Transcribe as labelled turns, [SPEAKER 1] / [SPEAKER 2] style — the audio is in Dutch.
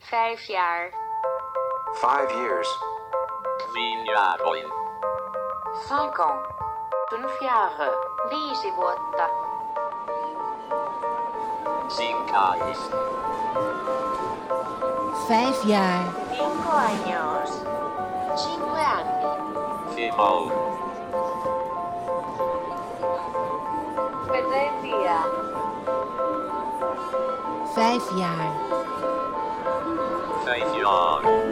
[SPEAKER 1] Vijf jaar.
[SPEAKER 2] Five years.
[SPEAKER 3] Tien jaren.
[SPEAKER 4] Cinq ans. Fünf Jahre.
[SPEAKER 1] Viisi vuotta.
[SPEAKER 3] Ziekenhuis.
[SPEAKER 5] Vijf jaar.
[SPEAKER 1] Cinco años. Cinque anni.
[SPEAKER 3] Vimo.
[SPEAKER 1] Pedetia.
[SPEAKER 5] Vijf jaar.
[SPEAKER 3] Vijf jaar.